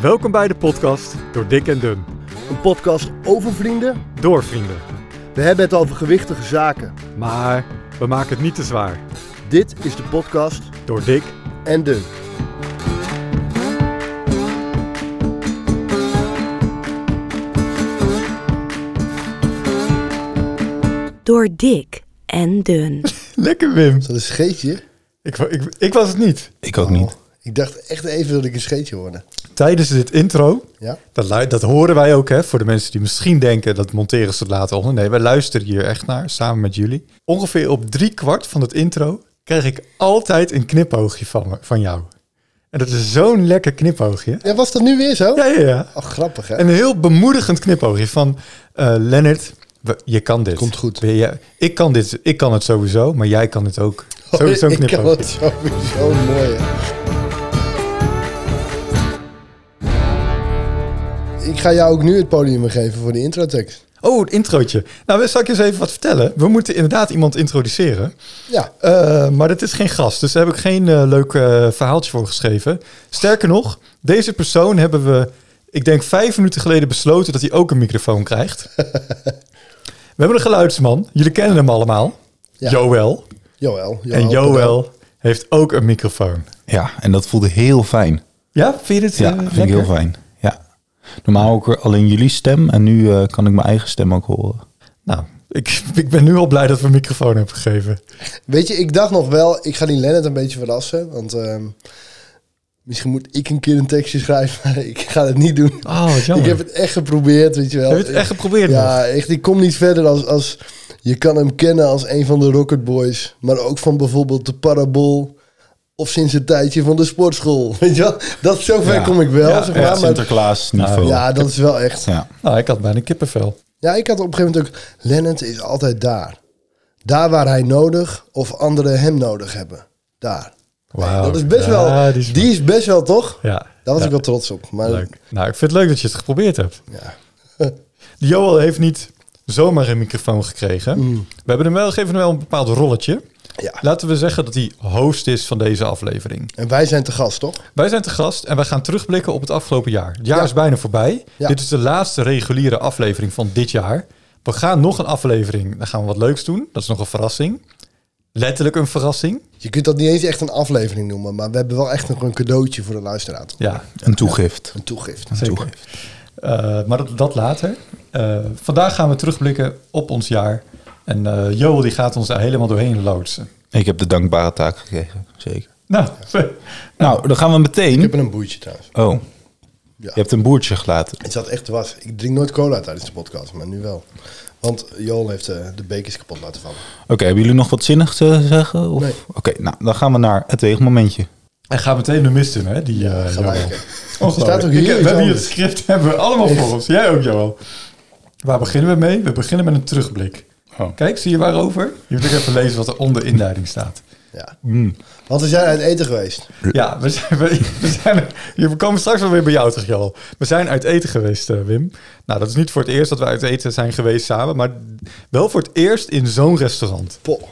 Welkom bij de podcast Door Dik en Dun. Een podcast over vrienden. Door vrienden. We hebben het over gewichtige zaken. Maar we maken het niet te zwaar. Dit is de podcast Door Dik. en dun. door dik en dun. Lekker Wim. Is dat een scheetje? Oh, Ik, wa- ik, ik was het niet. Ik ook niet. Ik dacht echt even dat ik een scheetje hoorde. Tijdens dit intro, Ja? dat, lu- dat horen wij ook hè, voor de mensen die misschien denken dat monteren ze het later onder. Nee, wij luisteren hier echt naar, samen met jullie. Ongeveer op drie kwart van het intro krijg ik altijd een knipoogje van, me- van jou. En dat is zo'n lekker knipoogje. ja, was dat nu weer zo? Ja, ja, ja. Oh, grappig hè? Een heel bemoedigend knipoogje van eh Lennart. we- Je kan dit. Komt goed. Ben je- ik kan dit. Ik kan het sowieso, maar jij kan het ook. Sowieso een Oh, ik kan knipoogje. het sowieso mooi hè? Ik ga jou ook nu het podium geven voor de introtekst. Oh, het introotje. Nou, zal ik je eens even wat vertellen. We moeten inderdaad iemand introduceren. Ja, Eh, maar dat is geen gast, dus daar heb ik geen eh, leuk eh, verhaaltje voor geschreven. Sterker nog, deze persoon hebben we, ik denk vijf minuten geleden besloten dat hij ook een microfoon krijgt. we hebben een geluidsman, jullie kennen hem allemaal. Ja. Joël. Joël. Joël En Joël heeft ook een microfoon. Ja, en dat voelde heel fijn. Ja, vind je dit Ja, eh, vind ik lekker? heel fijn. Ja. Normaal ook alleen jullie stem en nu eh, kan ik mijn eigen stem ook horen. Nou, ik, ik ben nu al blij dat we een microfoon hebben gegeven. Weet je, ik dacht nog wel, ik ga die Lennart een beetje verrassen. Want ehm, misschien moet ik een keer een tekstje schrijven, maar ik ga het niet doen. Oh, wat jammer. Ik heb het echt geprobeerd, weet je wel. Heb je het echt geprobeerd nog? Ja, echt, ik kom niet verder als, als... Je kan hem kennen als een van de Rocket Boys. Maar ook van bijvoorbeeld de Parabool. Of sinds een tijdje van de sportschool. Weet je wel? Dat zover Ja. kom ik wel, Ja, zeg ja, maar. maar Sinterklaas niveau. ja, dat is wel echt. Ja. Nou, ik had bijna kippenvel. Ja, ik had op een gegeven moment ook... Lennart is altijd daar. Daar waar hij nodig of anderen hem nodig hebben. Daar. Wauw. Dat is best Ja, wel... die is- Die is best wel, toch? Ja. Daar was Ja, ik wel trots op. Maar Leuk. Nou, ik vind het leuk dat je het geprobeerd hebt. ja. Joel heeft niet zomaar een microfoon gekregen. We hebben hem wel, geven hem wel een bepaald rolletje. ja. Laten we zeggen dat hij host is van deze aflevering. En wij zijn te gast, toch? Wij zijn te gast en wij gaan terugblikken op het afgelopen jaar. Het jaar Ja. is bijna voorbij. Ja. Dit is de laatste reguliere aflevering van dit jaar. We gaan nog een aflevering. Dan gaan we wat leuks doen. Dat is nog een verrassing. Letterlijk een verrassing. Je kunt dat niet eens echt een aflevering noemen, maar we hebben wel echt nog een cadeautje voor de luisteraar. toch? Ja, Een toegift. Een toegift. Een Zeker. toegift. eh, maar dat, dat later. Eh, vandaag gaan we terugblikken op ons jaar. En eh Joel die gaat ons daar helemaal doorheen loodsen. Ik heb de dankbare taak gekregen, zeker. Nou, Nou, dan gaan we Ik heb meteen. er een boertje trouwens. Oh, Ja. je hebt een boertje gelaten. Het zat echt was. Ik drink nooit cola tijdens de podcast, maar nu wel. Want Joel heeft eh, de bekers kapot laten vallen. Oké, hebben jullie nog wat zinnigs te zeggen? Of? Nee. Oké, nou, dan gaan we naar het weegmomentje. en gaat meteen de mist in, hè? Die, eh, gelijk, Joel. hè. Ongelooflijk. Staat ook hier Ik- we hebben iets hier het anders. script hebben we allemaal voor ons. Jij ook, Joel. Waar beginnen we mee? We beginnen met een terugblik. Oh. Kijk, zie je waarover? Je moet ook even lezen wat er onder inleiding staat. Ja. Mm. Want we zijn uit eten geweest. Ja, we zijn, we, we zijn, we komen straks wel weer bij jou terug, Joel. We zijn uit eten geweest, eh, Wim. Nou, dat is niet voor het eerst dat we uit eten zijn geweest samen, maar wel voor het eerst in zo'n restaurant. Poh.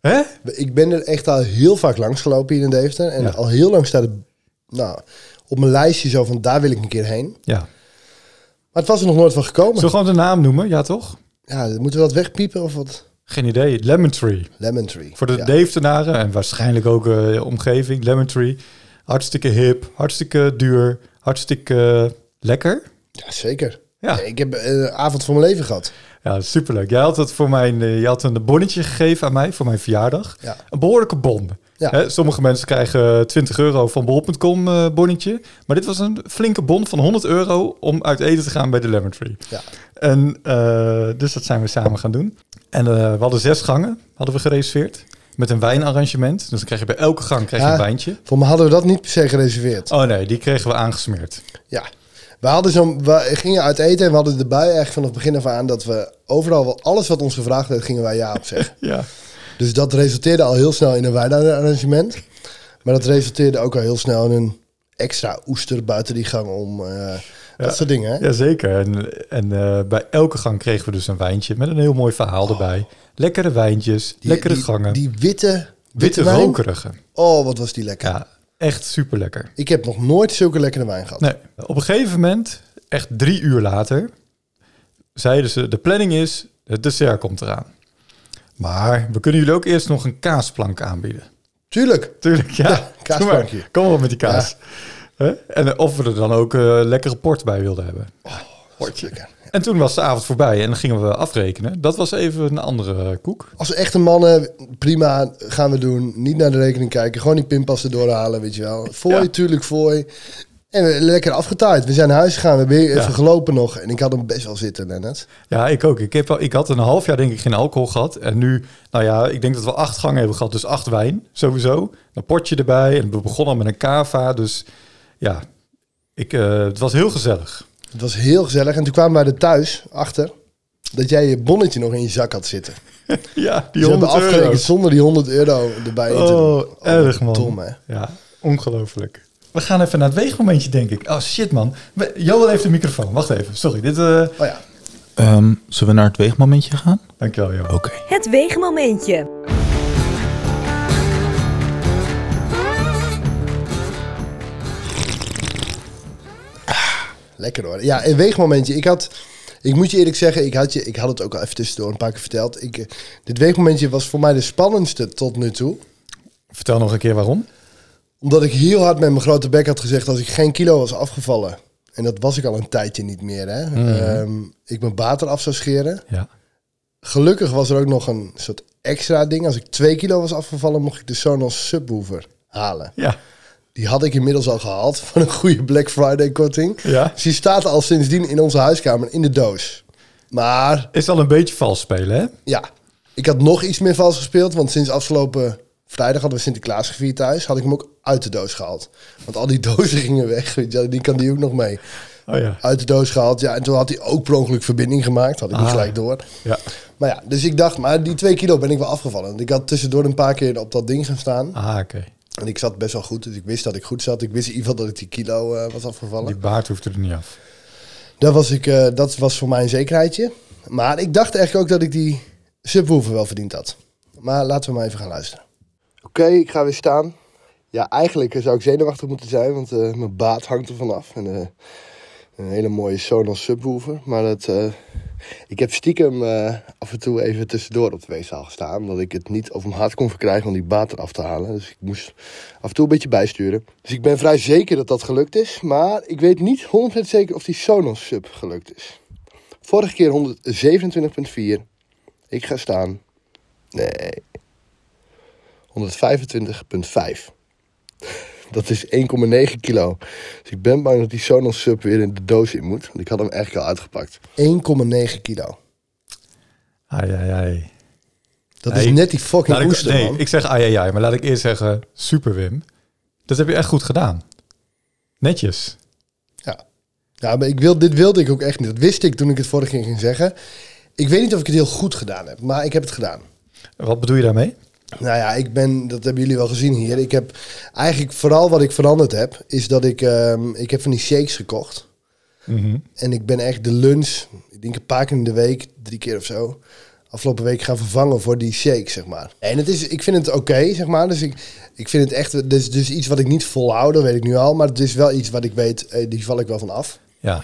Hè? Ik ben er echt al heel vaak langs gelopen hier in Deventer. En Ja. al heel lang staat het nou, op mijn lijstje zo van daar wil ik een keer heen. Ja. Maar het was er nog nooit van gekomen. Zullen we gewoon de naam noemen? Ja, toch? Ja, moeten we dat wegpiepen of wat? Geen idee. Lemon Tree. Lemon Tree. Voor de Ja. Deeftenaren en waarschijnlijk ook eh, de omgeving, Lemon Tree. Hartstikke hip, hartstikke duur, hartstikke eh, lekker. Ja, zeker. Ja. Nee, ik heb eh, een avond van mijn leven gehad. Ja, superleuk. Jij had, het voor mijn, eh, je had een bonnetje gegeven aan mij voor mijn verjaardag. Ja. Een behoorlijke bon. Ja. Hè, sommige mensen krijgen eh, 20 euro van bol.com eh, bonnetje. Maar dit was een flinke bon van 100 euro om uit eten te gaan bij de Lemon Tree. Ja. En, eh, dus dat zijn we samen gaan doen. En eh, we hadden zes gangen, hadden we gereserveerd. Met een wijnarrangement. Dus dan krijg je bij elke gang krijg je Ja. een wijntje. Voor me hadden we dat niet per se gereserveerd. Oh nee, die kregen we aangesmeerd. Ja. We, hadden zo'n, we gingen uit eten en we hadden erbij eigenlijk vanaf het begin af aan dat we overal wel alles wat ons gevraagd werd, gingen wij ja op zeggen. Ja. dus dat resulteerde al heel snel in een wijnarrangement. Maar dat resulteerde ook al heel snel in een extra oester buiten die gang om. eh, Dat soort dingen. Hè? Jazeker. En, en eh, bij elke gang kregen we dus een wijntje met een heel mooi verhaal erbij. Lekkere wijntjes, Oh. Die- lekkere die- gangen. Die witte. witte wijn. rokerige. Oh, wat was die lekker. Ja, echt super lekker. Ik heb nog nooit zulke lekkere wijn gehad. Nee. Op een gegeven moment, echt drie uur later, zeiden ze: de planning is, het dessert komt eraan. Maar we kunnen jullie ook eerst nog een kaasplank aanbieden. Tuurlijk. Tuurlijk, ja. Ja, Doe maar. kaasplankje. Kom op met die kaas. Hè? En eh, of we er dan ook eh, lekkere port bij wilden hebben. Lekker. En toen was de avond voorbij en dan gingen we afrekenen. Dat was even een andere eh, koek. Als echte mannen, prima, gaan we doen. Niet naar de rekening kijken. Gewoon die pinpas erdoor halen, weet je wel. Fooi, Ja. tuurlijk fooi. En we- lekker afgetaaid. We zijn naar huis gegaan. We hebben weer Ja. even gelopen nog. En ik had hem best wel zitten, Lennart. Ja, ik ook. Ik, heb, wel- ik had een half jaar denk ik geen alcohol gehad. En nu, nou ja, ik denk dat we acht gangen hebben gehad. Dus acht wijn, sowieso. Een potje erbij. En we begonnen met een cava. Dus ja, ik, eh, het was heel gezellig. Het was heel gezellig. En toen kwamen wij er thuis achter dat jij je bonnetje nog in je zak had zitten. Ja, Die die hebben 100 afgerekend euro. zonder die 100 euro erbij in te doen. Oh, erg man. Dom, hè? Ja, ongelooflijk. We gaan even naar het weegmomentje, denk ik. Oh shit, man. We- Joel heeft de microfoon. Wacht even. Sorry, dit... eh Oh ja, Ehm, zullen we naar het weegmomentje gaan? Dankjewel, Joel. Oh. Oké. Het weegmomentje. lekker hoor. Ja, een weegmomentje. Ik had, ik moet je eerlijk zeggen, ik had, je, ik had het ook al even tussendoor een paar keer verteld. Ik, eh, dit weegmomentje was voor mij de spannendste tot nu toe. Vertel nog een keer waarom. Omdat ik heel hard met mijn grote bek had gezegd als ik geen kilo was afgevallen. En dat was ik al een tijdje niet meer. Hè? Mhm. Ehm, ik mijn bater af zou scheren. Ja. Gelukkig was er ook nog een soort extra ding. Als ik twee kilo was afgevallen, mocht ik de Sonos subwoofer halen. Ja. Die had ik inmiddels al gehaald van een goede Black Friday korting. Ja. Dus die staat al sindsdien in onze huiskamer in de doos. Maar Is al een beetje vals spelen, hè? ja, ik had nog iets meer vals gespeeld. Want sinds afgelopen vrijdag hadden we Sinterklaas gevierd thuis. Had ik hem ook uit de doos gehaald. Want al die dozen gingen weg. weet je wel, Die kan die ook nog mee. Oh ja. Uit de doos gehaald. Ja, en toen had hij ook per ongeluk verbinding gemaakt. Had ik niet Ah. gelijk door. Ja. Maar ja, dus ik dacht, maar die twee kilo ben ik wel afgevallen. Want ik had tussendoor een paar keer op dat ding gaan staan. Ah, oké. En ik zat best wel goed. Dus ik wist dat ik goed zat. Ik wist in ieder geval dat ik die kilo eh, was afgevallen. Die baard hoeft er niet af. Dat was, ik, eh, dat was voor mij een zekerheidje. Maar ik dacht eigenlijk ook dat ik die subwoofer wel verdiend had. Maar laten we maar even gaan luisteren. Oké, ik ga weer staan. Ja, eigenlijk eh, zou ik zenuwachtig moeten zijn, want eh, mijn baat hangt er vanaf. En, eh, een hele mooie Sonos subwoofer. Maar dat, eh, ik heb stiekem eh, af en toe even tussendoor op de weegschaal gestaan. Omdat ik het niet over mijn hart kon verkrijgen om die baat eraf te halen. Dus ik moest af en toe een beetje bijsturen. Dus ik ben vrij zeker dat dat gelukt is. Maar ik weet niet 100% zeker of die Sonos sub gelukt is. Vorige keer 127,4. Ik ga staan. Nee. 125,5. Dat is 1,9 kilo. Dus ik ben bang dat die Sonos Sub weer in de doos in moet. Want ik had hem eigenlijk al uitgepakt. 1,9 kilo. Ai, ai, ai. Dat Nee. is net die fucking Laat ik- oester, nee, man. ik zeg ai, ai, ai. Maar laat ik eerst zeggen, super Wim. Dat heb je echt goed gedaan. Netjes. Ja, ja maar ik wil, dit wilde ik ook echt niet. Dat wist ik toen ik het vorige keer ging zeggen. Ik weet niet of ik het heel goed gedaan heb, maar ik heb het gedaan. Wat bedoel je daarmee? Nou ja, ik ben, dat hebben jullie wel gezien hier. Ik heb eigenlijk vooral wat ik veranderd heb, is dat ik, ehm, ik heb van die shakes gekocht. Mhm. En ik ben echt de lunch, ik denk een paar keer in de week, drie keer of zo, afgelopen week gaan vervangen voor die shake, zeg maar. En het is, ik vind het oké, zeg maar. Dus ik, ik vind het echt, dus, dus iets wat ik niet volhoud, dat weet ik nu al. Maar het is wel iets wat ik weet, eh, die val ik wel van af. Ja.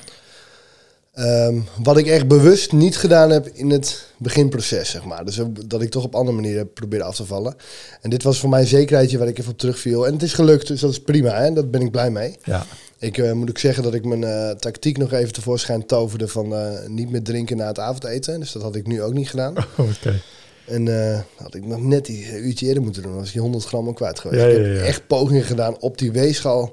Ehm, wat ik echt bewust niet gedaan heb in het beginproces, zeg maar. Dus ook dat ik toch op andere manieren heb proberen af te vallen. En dit was voor mij een zekerheidje waar ik even op terugviel. En het is gelukt, dus dat is prima, hè? daar ben ik blij mee. Ja. Ik eh, moet ook zeggen dat ik mijn eh, tactiek nog even tevoorschijn toverde van eh, niet meer drinken na het avondeten. Dus dat had ik nu ook niet gedaan. Oh, Oké. En eh, had ik nog net die eh, uurtje eerder moeten doen, dan was ik die 100 gram al kwijt geweest. Ja, ik ja, heb ja. echt pogingen gedaan op die weegschaal.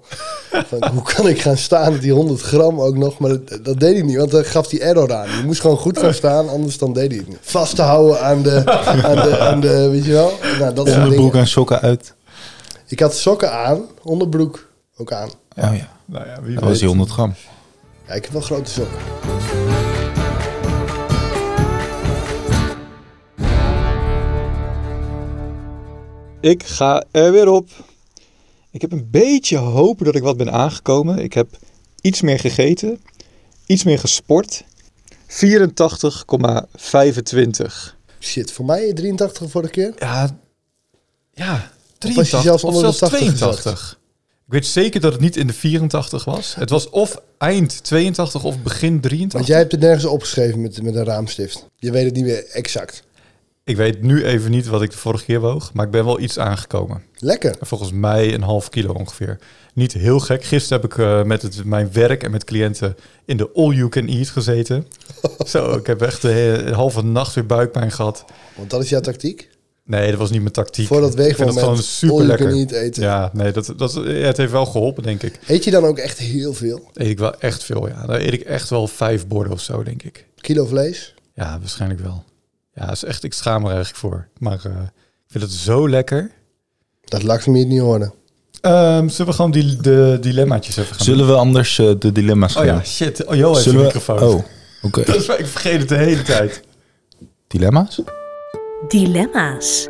van, hoe kan ik gaan staan met die 100 gram ook nog? Maar dat, dat deed hij niet, want dan gaf die error aan. Je moest gewoon goed gaan staan, anders dan deed hij het niet. Vast te houden aan de, aan de, aan de weet je wel? Nou, dat soort Onderbroek dingen. en sokken uit. Ik had sokken aan, onderbroek ook aan. Oh ja. Nou ja, wie Dat was weet. die 100 gram. Ja, ik heb wel grote sokken. Ik ga er weer op. Ik heb een beetje hoop dat ik wat ben aangekomen. Ik heb iets meer gegeten, iets meer gesport. 84,25. Shit, voor mij 83 vorige keer. Ja, ja, was je 83 zelfs of onder de zelfs 80 gezakt? 82. Ik weet zeker dat het niet in de 84 was. Het was of eind 82 of begin 83. Want jij hebt het nergens opgeschreven met, met een raamstift. Je weet het niet meer exact. Ik weet nu even niet wat ik de vorige keer woog, maar ik ben wel iets aangekomen. Lekker. Volgens mij een half kilo ongeveer. Niet heel gek. Gisteren heb ik eh, met het, mijn werk en met cliënten in de All You Can Eat gezeten. Zo, ik heb echt de he- halve nacht weer buikpijn gehad. Want dat is jouw tactiek. Nee, dat was niet mijn tactiek. Voor dat Ik vind weegmoment, dat gewoon super All you lekker. can eat eten. Ja, nee, dat, dat, ja, het heeft wel geholpen, denk ik. Eet je dan ook echt heel veel? Eet ik wel echt veel, ja. Dan eet ik echt wel vijf borden of zo, denk ik. Kilo vlees? Ja, waarschijnlijk wel. Ja, is echt, ik schaam er eigenlijk voor. Maar eh, ik vind het zo lekker. Dat laat ik me hier niet horen. Ehm, zullen we gewoon die, de dilemmaatjes even gaan Zullen we anders eh, de dilemma's Oh gaan? ja, shit. Oh, joh, heeft de Zullen we... microfoon. Oh, oké. Dat is waar, ik vergeet het de hele tijd. Dilemma's? Dilemma's.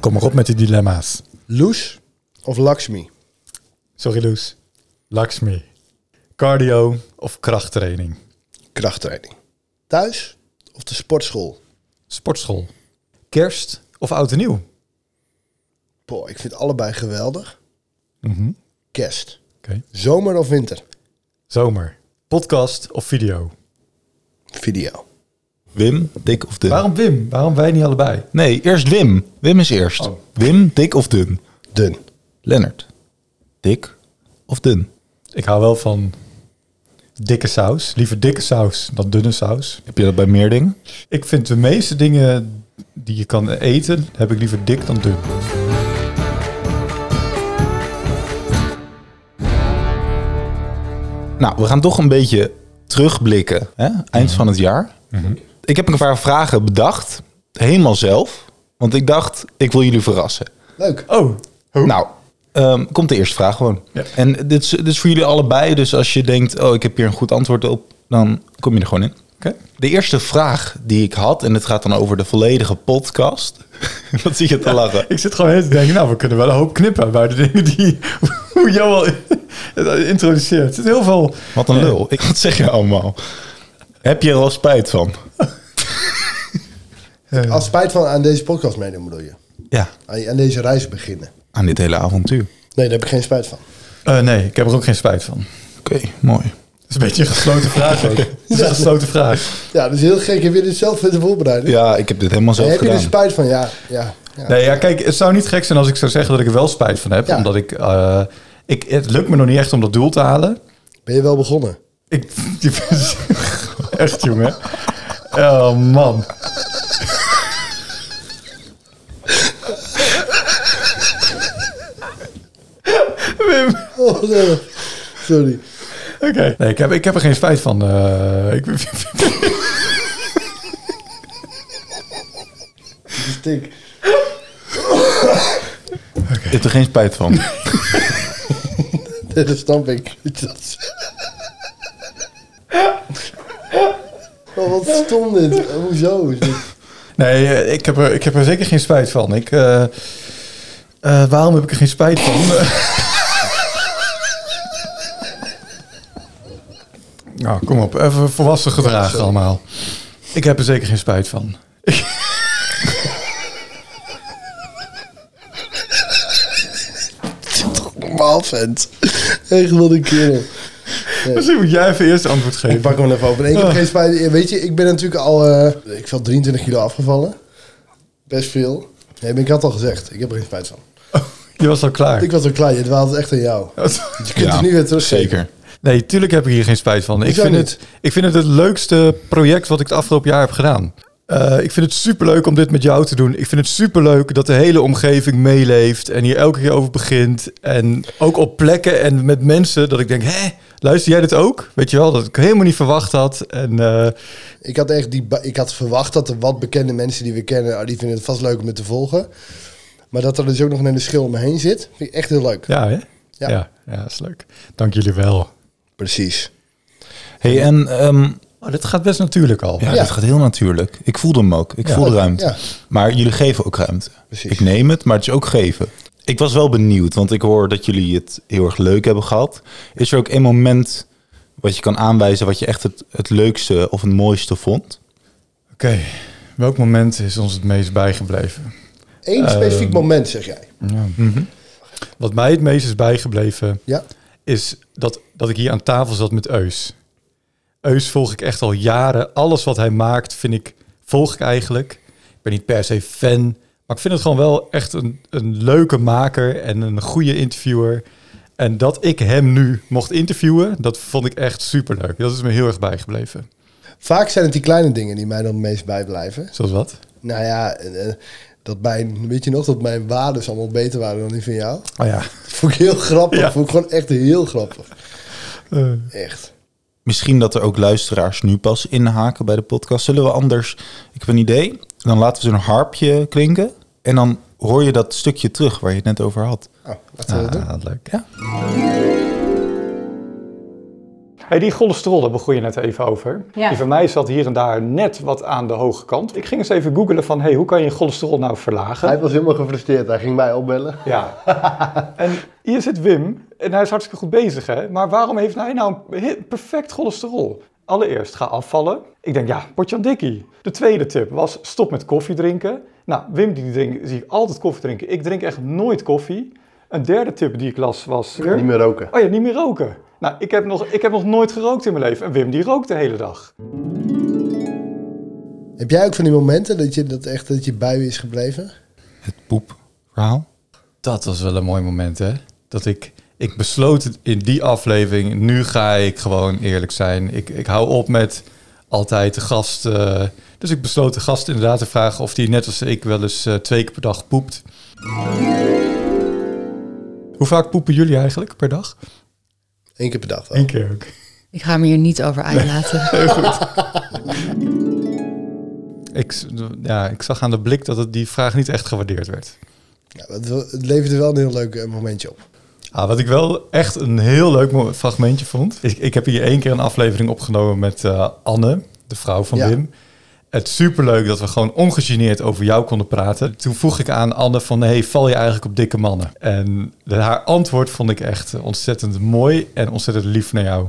Kom maar op met die dilemma's. Loes of Lakshmi? Sorry, Loes. Lakshmi. Cardio of krachttraining? Krachttraining. Thuis of de sportschool? Sportschool. Kerst of oud en nieuw? Boah, ik vind allebei geweldig. Mhm. Kerst. Oké. Zomer of winter? Zomer. Podcast of video? Video. Wim, dik of dun? Waarom Wim? Waarom wij niet allebei? Nee, eerst Wim. Wim is eerst. Oh. Wim, dik of dun? Dun. Lennart, dik of dun? Ik hou wel van dikke saus. Liever dikke saus dan dunne saus. Heb je dat bij meer dingen? Ik vind de meeste dingen die je kan eten, heb ik liever dik dan dun. Nou, we gaan toch een beetje terugblikken. Hè? Eind van het jaar. Mhm. Ik heb een paar vragen bedacht. Helemaal zelf. Want ik dacht, ik wil jullie verrassen. Leuk. Oh, hoe? Nou, ehm, komt de eerste vraag gewoon. Ja. En dit is, dit is voor jullie allebei. Dus als je denkt, oh, ik heb hier een goed antwoord op. Dan kom je er gewoon in. Oké. De eerste vraag die ik had, en het gaat dan over de volledige podcast. Wat zie je te lachen? Ik zit gewoon heel te denken, nou, we kunnen wel een hoop knippen bij de dingen die hoe jou al introduceert. Het is heel veel. Wat een lul. Ik, wat zeg je allemaal? Heb je er al spijt van? eh, Als spijt van aan deze podcast meedoen bedoel je? Ja, Aan aan deze reis beginnen? aan dit hele avontuur. Nee, daar heb ik geen spijt van. eh, nee, ik heb er ook geen spijt van. Oké, mooi. Het is een beetje een gesloten vraag ook. Het is een gesloten vraag. Ja, dat is heel gek. Je wil dit zelf te voorbereiden. Ja, ik heb dit helemaal Nee, zelf heb je er gedaan. spijt van? Ja, ja, ja. Nee, ja, kijk, het zou niet gek zijn als ik zou zeggen dat ik er wel spijt van heb. Ja. Omdat ik, eh, ik... Het lukt me nog niet echt om dat doel te halen. Ben je wel begonnen? Ik, echt, jongen. Oh, man. Wim. Oh, nee. Sorry. Oké. Nee, ik heb, ik heb er geen spijt van. eh, ik, Stik. Ik heb er geen spijt van. Nee, dat snap ik. Dat is- Oh, wat stom dit. Hoezo? is dit? nee, eh, ik heb, er, ik heb er zeker geen spijt van. Ik, eh, eh, waarom heb ik er geen spijt van? nou, kom op. Even volwassen gedrag allemaal. Ik heb er zeker geen spijt van. Normaal vent. Echt wat een kerel. Misschien moet jij even eerst antwoord Ik geven. pak hem even open. Nee, Ik heb geen spijt. Weet je, ik ben natuurlijk al, eh, ik val 23 kilo afgevallen. Best veel. Nee, maar ik had al gezegd. Ik heb er geen spijt van. Je was al klaar. Ik was al klaar. Je dwaalt echt aan jou. Je kunt Ja, het nu weer terug. Zeker. Nee, tuurlijk heb ik hier geen spijt van. Ik Hoezo vind, niet? het, ik vind het het leukste project wat ik het afgelopen jaar heb gedaan. Eh, ik vind het superleuk om dit met jou te doen. Ik vind het superleuk dat de hele omgeving meeleeft en hier elke keer over begint. En ook op plekken en met mensen dat ik denk, hè, luister jij dit ook? Weet je wel, dat ik helemaal niet verwacht had. En eh, Ik had echt die, ba- ik had verwacht dat er wat bekende mensen die we kennen, ah, die vinden het vast leuk om het te volgen. Maar dat er dus ook nog een hele schil omheen zit, vind ik echt heel leuk. ja, hè? Ja. ja, ja, is leuk. Dank jullie wel. Precies. hey, en ehm, Oh, dit gaat best natuurlijk al. ja, Ja. dat gaat heel natuurlijk. Ik voelde hem ook. Ik Ja. voel de ruimte. Ja. Maar jullie geven ook ruimte. Precies. Ik neem het, maar het is ook geven. Ik was wel benieuwd, want ik hoor dat jullie het heel erg leuk hebben gehad. Is er ook een moment wat je kan aanwijzen wat je echt het, het leukste of het mooiste vond? Oké, Welk moment is ons het meest bijgebleven? Eén specifiek moment, zeg jij. Wat mij het meest is bijgebleven Ja. is dat, dat ik hier aan tafel zat met Eus. Eus volg ik echt al jaren. Alles wat hij maakt, vind ik, volg ik eigenlijk. Ik ben niet per se fan, maar ik vind het gewoon wel echt een, een leuke maker en een goede interviewer. En dat ik hem nu mocht interviewen, dat vond ik echt superleuk. Dat is me heel erg bijgebleven. Vaak zijn het die kleine dingen die mij dan het meest bijblijven. Zoals wat? Nou ja, eh, eh, dat mijn, weet je nog, dat mijn waarden allemaal beter waren dan die van jou. Oh ja. Vond ik heel grappig. Ja. Vond ik gewoon echt heel grappig. Eh. Echt. Misschien dat er ook luisteraars nu pas inhaken bij de podcast. Zullen we anders, ik heb een idee, dan laten we zo'n harpje klinken. En dan hoor je dat stukje terug waar je het net over had. Nou, laten we dat doen. Ah, leuk. Ja. Hey, die cholesterol, daar begon je net even over. Ja. Die van mij zat hier en daar net wat aan de hoge kant. Ik ging eens even googelen van, hey, hoe kan je cholesterol nou verlagen? was helemaal gefrustreerd. Hij ging mij opbellen. Ja. en hier zit Wim, en hij is hartstikke goed bezig, hè? Maar waarom heeft hij nou een he- perfect cholesterol? Allereerst, ga afvallen. Ik denk, ja, potjandikkie. De tweede tip was, stop met koffie drinken. Nou, Wim die drinkt, zie ik altijd koffie drinken. Ik drink echt nooit koffie. Een derde tip die ik las was... roken. Oh ja, niet meer roken. Nou, ik heb nog, ik heb nog nooit gerookt in mijn leven. En Wim die rookt de hele dag. Heb jij ook van die momenten dat je dat echt dat je bij je is gebleven? Het poepverhaal. Dat was wel een mooi moment, hè? Dat ik, ik besloot in die aflevering, nu ga ik gewoon eerlijk zijn. Ik, ik hou op met altijd de gast. eh, dus ik besloot de gast inderdaad te vragen of die net als ik wel eens eh, twee keer per dag poept. Hoe vaak poepen jullie eigenlijk per dag? Eén keer per dag wel. keer ook. Ik ga me hier niet over uitlaten. Ik, s- ja, ik zag aan de blik dat het die vraag niet echt gewaardeerd werd. Ja, het, het leverde wel een heel leuk eh, momentje op. Ah, wat ik wel echt een heel leuk mo- fragmentje vond. Ik, ik heb hier één keer een aflevering opgenomen met eh, Anne, de vrouw van Ja. Wim. Het superleuk dat we gewoon ongegeneerd over jou konden praten. Toen vroeg ik aan Anne van, hey, val je eigenlijk op dikke mannen? En de- haar antwoord vond ik echt eh, ontzettend mooi en ontzettend lief naar jou.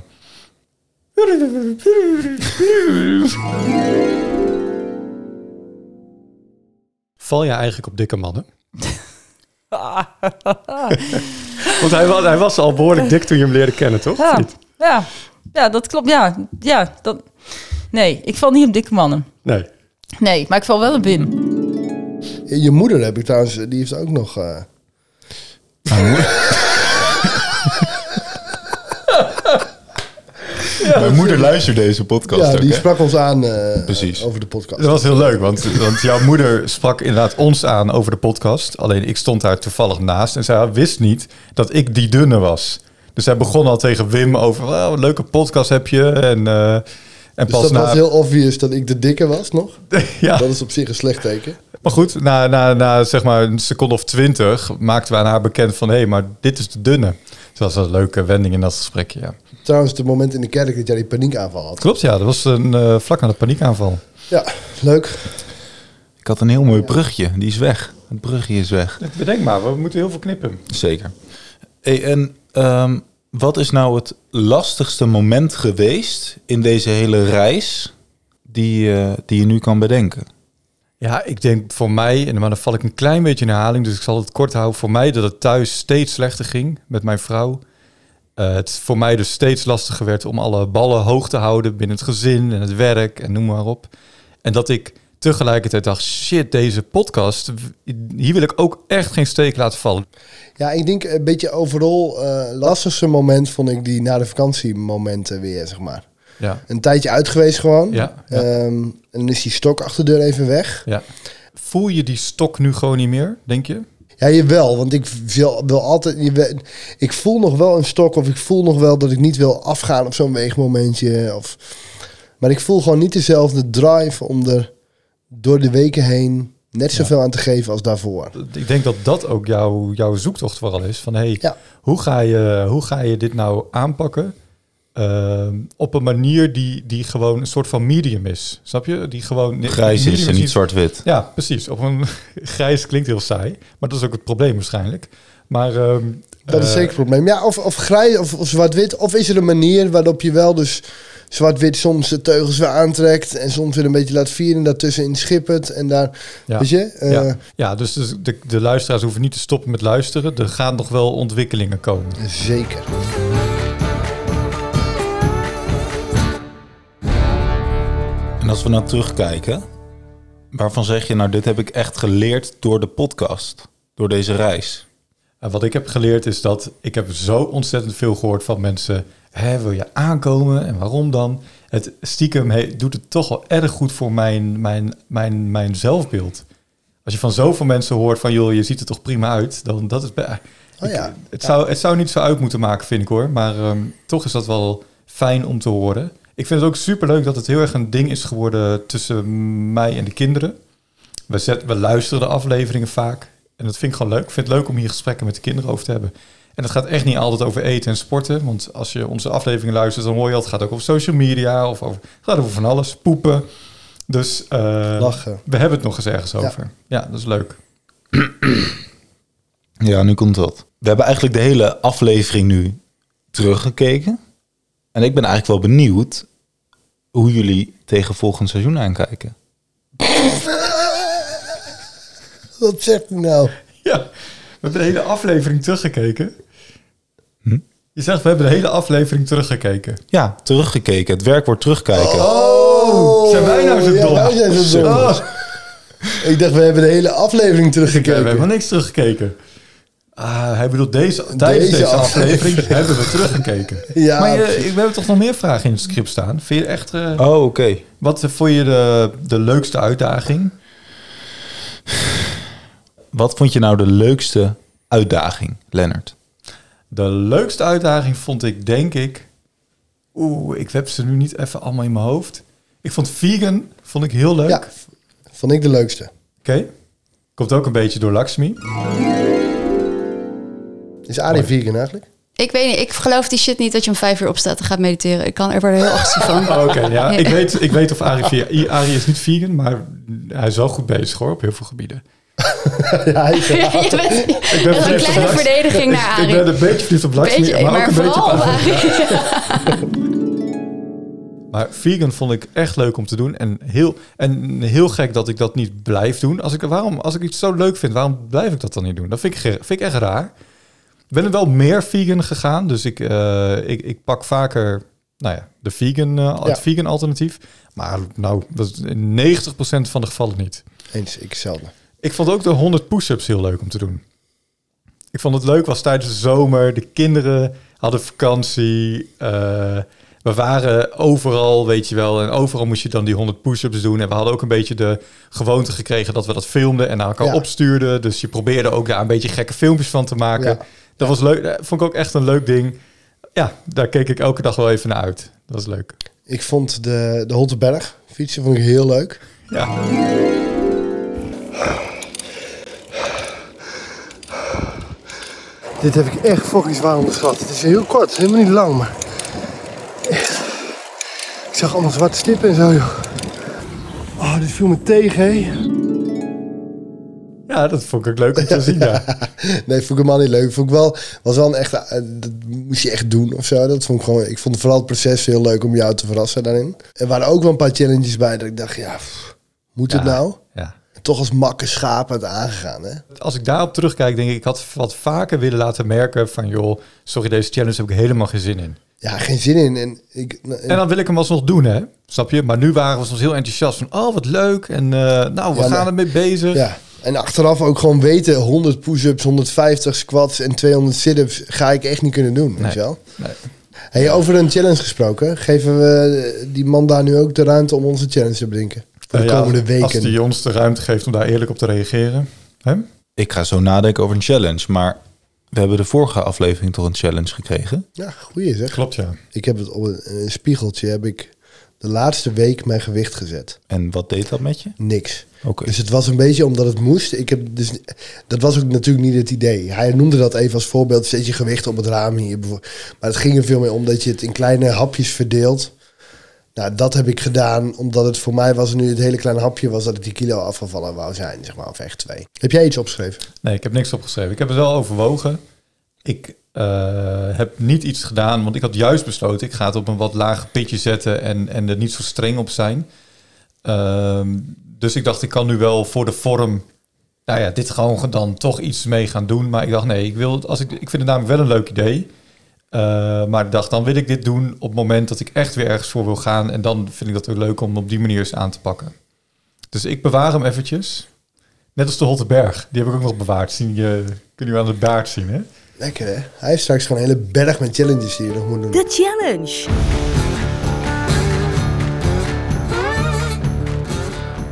Val je eigenlijk op dikke mannen? Want hij was, hij was al behoorlijk dik toen je hem leerde kennen, toch? Of Ja, niet? ja, ja dat klopt. Ja, ja, dat... Nee, ik val niet op dikke mannen. Nee. Nee, maar ik val wel op Wim. Je moeder heb ik trouwens, die heeft ook nog. eh, Mijn moeder luistert deze podcast ja, ook, die hè? sprak ons aan eh, Precies. over de Dat podcast. was heel leuk, want, want jouw moeder sprak inderdaad ons aan over de podcast. Alleen ik stond daar toevallig naast en zij wist niet dat ik die dunne was. Dus zij begon al tegen Wim over, "Oh, wat een leuke podcast heb je. En, eh, en Dus pas dat na... was heel obvious dat ik de dikke was nog. ja. Dat is op zich een slecht teken. Maar goed, na, na, na zeg maar een seconde of twintig maakten we aan haar bekend van... hé, hey, maar dit is de dunne. Dus dat was een leuke wending in dat gesprekje, ja. Trouwens, het moment in de kerk dat jij die paniekaanval had. Klopt, ja. Dat was een, eh, vlak na de paniekaanval. Ja, leuk. Ik had een heel mooi brugje, die is weg. Het brugje is weg. Bedenk maar, we moeten heel veel knippen. Zeker. Hey, en ehm, wat is nou het lastigste moment geweest in deze hele reis die, eh, die je nu kan bedenken? Ja, ik denk voor mij, en maar dan val ik een klein beetje in herhaling, dus ik zal het kort houden. Voor mij dat het thuis steeds slechter ging met mijn vrouw. Eh, het voor mij dus steeds lastiger werd om alle ballen hoog te houden binnen het gezin en het werk en noem maar op. En dat ik tegelijkertijd dacht, shit, deze podcast, w- hier wil ik ook echt geen steek laten vallen. Ja, ik denk een beetje overal eh lastigste moment vond ik die na de vakantiemomenten weer, zeg maar. Ja, Een tijdje uit geweest gewoon. Ja, ja. Ehm, en dan is die stok achter de deur even weg. ja. Voel je die stok nu gewoon niet meer, denk je? Ja, jawel, want ik wil, wil altijd. je we- Ik voel nog wel een stok, of ik voel nog wel dat ik niet wil afgaan op zo'n weegmomentje. Of, maar ik voel gewoon niet dezelfde drive om er door de weken heen net zoveel aan te geven als daarvoor. Ik denk dat dat ook jouw, jouw zoektocht vooral is. Van hey, Ja. hoe, ga je, hoe ga je dit nou aanpakken? Ehm, op een manier die, die gewoon een soort van medium is. Snap je? Die gewoon. Grijs medium is en niet iets- zwart-wit. Ja, precies. Op een, grijs klinkt heel saai. Maar dat is ook het probleem waarschijnlijk. Maar. ehm, Dat is eh, zeker een probleem. Ja, of, of grijs of, of zwart-wit. Of is er een manier waarop je wel dus zwart-wit soms de teugels weer aantrekt. En soms weer een beetje laat vieren. Daartussenin schippert. En daar, Ja. weet je? eh, ja. ja, dus dus de, de luisteraars hoeven niet te stoppen met luisteren. Er gaan nog wel ontwikkelingen komen. Eh, Zeker. En als we nou terugkijken, waarvan zeg je nou, dit heb ik echt geleerd door de podcast, door deze reis? En wat ik heb geleerd is dat ik heb zo ontzettend veel gehoord van mensen. Hè, wil je aankomen en waarom dan? Het stiekem he- doet het toch wel erg goed voor mijn, mijn, mijn, mijn zelfbeeld. Als je van zoveel mensen hoort van joh, je ziet er toch prima uit, dan dat is. be- Oh ja. Ik- het, zou, het zou niet zo uit moeten maken, vind ik hoor. Maar ehm, toch is dat wel fijn om te horen. Ik vind het ook superleuk dat het heel erg een ding is geworden tussen mij en de kinderen. We, zet, we luisteren de afleveringen vaak. En dat vind ik gewoon leuk. Ik vind het leuk om hier gesprekken met de kinderen over te hebben. En dat gaat echt niet altijd over eten en sporten. Want als je onze afleveringen luistert, dan hoor je dat het gaat ook over social media. Of over, het gaat over van alles. Poepen. Dus eh, Lachen. we hebben het nog eens ergens Ja. over. Ja, dat is leuk. Ja, nu komt dat. We hebben eigenlijk de hele aflevering nu teruggekeken. En ik ben eigenlijk wel benieuwd hoe jullie tegen volgend seizoen aankijken. Wat zegt hij nou? Ja, we hebben de hele aflevering teruggekeken. Je zegt, we hebben de hele aflevering teruggekeken. Ja, teruggekeken. Het werkwoord terugkijken. Oh, zijn wij nou zo ja, dom? wij zijn zo dom. Oh, Ik dacht, we hebben de hele aflevering we hebben teruggekeken. helemaal niks teruggekeken. Ah, hij bedoelt, deze, tijdens Deze deze, aflevering. aflevering, hebben we teruggekeken. Ja. Maar je, we hebben toch nog meer vragen in het script staan? Vind je echt, eh, Oh, oké. wat eh, vond je de, de leukste uitdaging? Wat vond je nou de leukste uitdaging, Lennart? De leukste uitdaging vond ik, denk ik... Oeh, ik heb ze nu niet even allemaal in mijn hoofd. Ik vond vegan vond ik heel leuk. Ja, vond ik de leukste. Oké. Komt ook een beetje door Lakshmi. Is Arie vegan eigenlijk? Ik weet niet, ik geloof die shit niet dat je om vijf uur opstaat en gaat mediteren. Ik kan er worden heel agressief van. Oké, ja. Ik weet, ik weet of Arie... via- I- Arie is niet vegan, maar hij is wel goed bezig hoor, op heel veel gebieden. Ja, hij is- Je bent- Ik dat is een kleine verdediging naar Ik Arie. ben een beetje verliefd op Lakshmi, Beetje, maar, ook een beetje op vooral Arie. Arie. Maar vegan vond ik echt leuk om te doen. En heel, en heel gek dat ik dat niet blijf doen. Als ik, waarom, als ik iets zo leuk vind, waarom blijf ik dat dan niet doen? Dat vind ik, ge- vind ik echt raar. Ik ben er wel meer vegan gegaan. Dus ik, eh, ik, ik pak vaker nou ja, de vegan, eh, Ja. het vegan alternatief. Maar nou, dat is in 90% van de gevallen niet. Eens, ik zelden. Ik vond ook de 100 push-ups heel leuk om te doen. Ik vond het leuk, was tijdens de zomer. De kinderen hadden vakantie. eh, we waren overal, weet je wel. En overal moest je dan die 100 push-ups doen. En we hadden ook een beetje de gewoonte gekregen dat we dat filmden en naar elkaar Ja. opstuurden. Dus je probeerde ook daar een beetje gekke filmpjes van te maken. Ja. Dat was leuk. Dat vond ik ook echt een leuk ding. Ja, daar keek ik elke dag wel even naar uit. Dat was leuk. Ik vond de, de Holteberg fietsen vond ik heel leuk. Ja. Dit heb ik echt fucking zwaar onderschat. Het is heel kort, helemaal niet lang, maar... Ik zag allemaal zwarte stippen en zo, joh. Oh, dit viel me tegen, hè. ja, dat vond ik ook leuk om te zien. Ja. Nee, vond ik helemaal niet leuk. Vond ik wel, was wel een echte... eh, Dat moest je echt doen of zo. Dat vond ik gewoon... Ik vond vooral het proces heel leuk om jou te verrassen daarin. Er waren ook wel een paar challenges bij dat ik dacht, ja... pff, moet het Ja. nou? ja. Toch als makke schaap het aangegaan, hè? Als ik daarop terugkijk, denk ik, ik had wat vaker willen laten merken van, joh, sorry, deze challenge heb ik helemaal geen zin in. Ja, geen zin in. En ik, eh, En dan wil ik hem alsnog doen, hè? Snap je? Maar nu waren we soms heel enthousiast van, oh, wat leuk. En eh, nou, we Ja, gaan nee. ermee bezig. ja. en achteraf ook gewoon weten, 100 push-ups, 150 squats en 200 sit-ups ga ik echt niet kunnen doen, weet je wel? Nee. Hey, over een challenge gesproken, geven we eh, die man daar nu ook de ruimte om onze challenge te bedenken? Voor de Nou ja, komende Als weken. die ons de ruimte geeft om daar eerlijk op te reageren. Hè? Ik ga zo nadenken over een challenge, maar we hebben de vorige aflevering toch een challenge gekregen. Ja, goeie zeg. Klopt, ja. Ik heb het op een, een spiegeltje, heb ik de laatste week mijn gewicht gezet. En wat deed dat met je? Niks. Oké. Dus het was een beetje omdat het moest. Ik heb dus, dat was ook natuurlijk niet het idee. Hij noemde dat even als voorbeeld. Zet je gewicht op het raam hier. bijvoor- Maar het ging er veel meer om dat je het in kleine hapjes verdeelt. Nou, dat heb ik gedaan omdat het voor mij was nu het hele kleine hapje was dat ik die kilo afgevallen wou zijn, zeg maar, of echt twee. Heb jij iets opgeschreven? Nee, ik heb niks opgeschreven. Ik heb het wel overwogen. Ik eh, heb niet iets gedaan, want ik had juist besloten, ik ga het op een wat lager pitje zetten en, en er niet zo streng op zijn. Ehm, dus ik dacht, ik kan nu wel voor de vorm, nou ja, dit gewoon dan toch iets mee gaan doen. Maar ik dacht, nee, ik, wil, het- als ik, ik vind het namelijk wel een leuk idee. Eh, maar ik dacht, dan wil ik dit doen op het moment dat ik echt weer ergens voor wil gaan. En dan vind ik dat ook leuk om op die manier eens aan te pakken. Dus ik bewaar hem eventjes. Net als de Hotte Berg. Die heb ik ook nog bewaard. Zien je, kun je wel aan de baard zien, hè? Lekker hè? Hij heeft straks gewoon een hele berg met challenges die je nog moet doen. De challenge.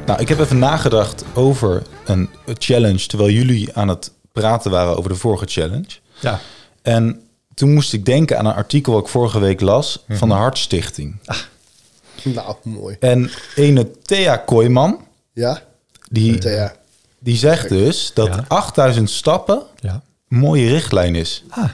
Nou, ik heb even nagedacht over een challenge terwijl jullie aan het praten waren over de vorige challenge. Ja. En toen moest ik denken aan een artikel wat ik vorige week las van de Mhm. Hartstichting. Ah. Nou, mooi. En ene Thea Kooijman, Ja? die, Thea. die zegt dus dat Ja. 8000 stappen ja. een mooie richtlijn is. Ah,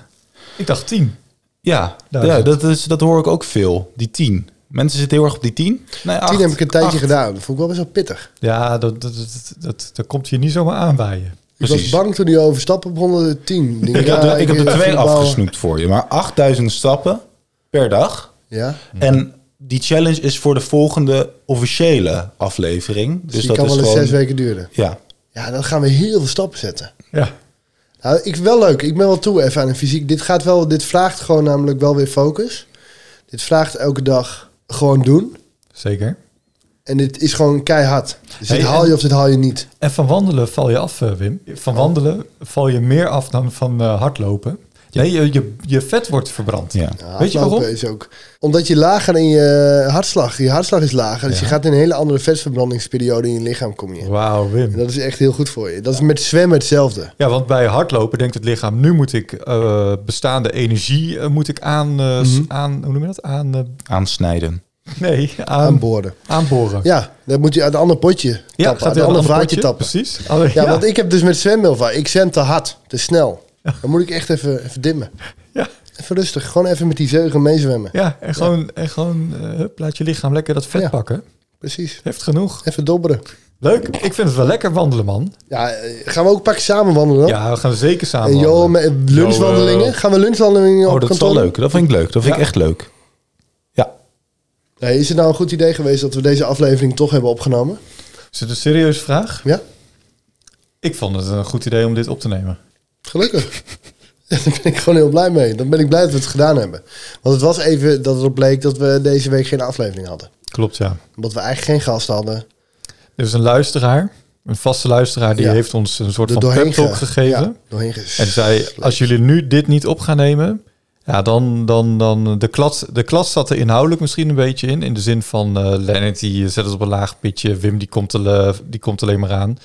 ik dacht tien. Ja, Duizend. ja dat, is, dat hoor ik ook veel, die 10. Mensen zitten heel erg op die 10. Nee, acht. Tien heb ik een tijdje Acht. gedaan. Dat vond ik wel best wel pittig. Ja, dat, dat, dat, dat, dat komt je niet zomaar aanwaaien. Ik Precies. was bang toen hij overstappen op 110. denk Ik, ja, had, er- ik heb er eh, twee voetbal- afgesnoept voor je, maar 8000 stappen per dag. Ja? En die challenge is voor de volgende officiële aflevering. Dus, Dus, die dat kan is wel eens gewoon, zes weken duren. Ja, Ja, dan gaan we heel veel stappen zetten. Ja. Nou, ik wel leuk. Ik ben wel toe even aan de fysiek. Dit gaat wel, dit vraagt gewoon namelijk wel weer focus. Dit vraagt elke dag gewoon doen. Zeker. En dit is gewoon keihard. Dus Hey, dit haal je of dit haal je niet. En van wandelen val je af, eh, Wim. Van wandelen val je meer af dan van eh, hardlopen. Nee, je, je, je vet wordt verbrand. ja. Ja, Weet je Nou, hardlopen waarom? Is ook. Omdat je lager in je hartslag, je hartslag is lager. Dus Ja. je gaat in een hele andere vetverbrandingsperiode in je lichaam kom je. in. Wauw, En Wim. dat is echt heel goed voor je. Dat is met zwemmen hetzelfde. Ja, want bij hardlopen denkt het lichaam, nu moet ik eh, bestaande energie eh, moet ik aan, eh, s- Mhm. aan, hoe noem je dat? Aan, eh, aansnijden. nee, aan, Aanboorden. aanboren. Ja, dan moet je uit een ander potje tappen. Ja, uit gaat een hij ander een vaatje potje? tappen. Precies. Alle- Ja, want ik heb dus met zwemmen heel vaak. Ik zwem te hard, te snel. Dan moet ik echt even, even dimmen. Ja. Even rustig, gewoon even met die zeugen meezwemmen. Ja, en gewoon, En gewoon eh, hup, laat je lichaam lekker dat vet Ja. pakken. Precies. Heeft genoeg. Even dobberen. Leuk. Ik vind het wel lekker wandelen, man. Ja, eh, gaan we ook een pakje samen wandelen dan? Ja, we gaan zeker samen En Johan, wandelen. met lunchwandelingen? Johan. Gaan we lunchwandelingen Oh, op dat is wel kantoor? leuk. Dat vind ik leuk. Dat vind Ja. ik echt leuk. Ja, Nee, is het nou een goed idee geweest dat we deze aflevering toch hebben opgenomen? Is het een serieuze vraag? Ja, Ik vond het een goed idee om dit op te nemen. gelukkig. Ja, Daar ben ik gewoon heel blij mee. Dan ben ik blij dat we het gedaan hebben. Want het was even dat het bleek dat we deze week geen aflevering hadden. Klopt, ja. Omdat we eigenlijk geen gasten hadden. Er is een luisteraar, een vaste luisteraar, die Ja. heeft ons een soort Er van pep talk ge- gegeven. Ja, doorheen ges- En zei, als jullie nu dit niet op gaan nemen, ja, dan, dan, dan de klats, de klats zat er inhoudelijk misschien een beetje in. In de zin van, eh Lennart die zet het op een laag pitje, Wim die komt, er, die komt alleen maar aan.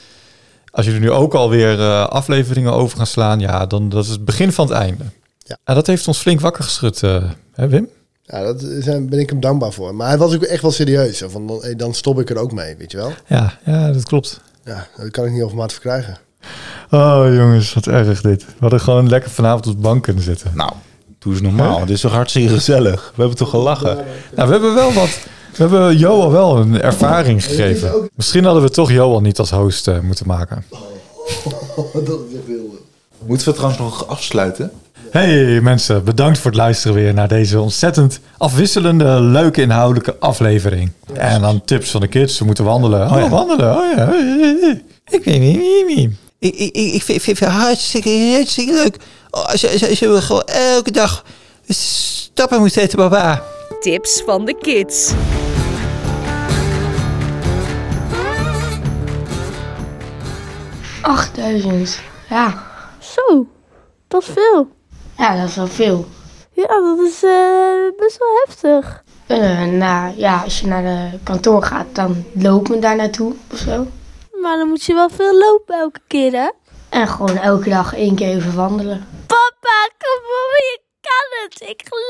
Als jullie nu ook alweer eh, afleveringen over gaan slaan, ja, dan dat is het begin van het einde. Ja. En dat heeft ons flink wakker geschud, eh, hè Wim? Ja, daar ben ik hem dankbaar voor. Maar hij was ook echt wel serieus. Zo Van, dan, hey, dan stop ik er ook mee, weet je wel. Ja, ja, dat klopt. Ja, dat kan ik niet over maat verkrijgen. Oh jongens, wat erg dit. We hadden gewoon lekker vanavond op de bank kunnen zitten. nou, doe eens normaal. Dit is toch hartstikke gezellig. We hebben toch gelachen. Nou, we hebben wel wat. We hebben Johan wel een ervaring gegeven. Misschien hadden we toch Johan niet als host eh, moeten maken. Moeten we trouwens nog afsluiten? Hey mensen, bedankt voor het luisteren weer naar deze ontzettend afwisselende, leuke inhoudelijke aflevering. En dan tips van de kids, ze moeten wandelen. Oh ja, wandelen. Oh ja. Ik weet niet, niet, niet. Ik, ik, ik ik vind, vind het hartstikke, hartstikke leuk. Oh, als, je- als, je- als je gewoon elke dag stappen moet zetten, papa. Tips van de kids. 8000. Ja. Zo, dat is veel. ja, dat is wel veel. Ja, dat is eh, best wel heftig. Eh, nou ja, als je naar de kantoor gaat, dan lopen we daar naartoe of zo. Maar dan moet je wel veel lopen elke keer, hè? En gewoon elke dag één keer even wandelen. Papa, kom op, je kan het. Ik geloof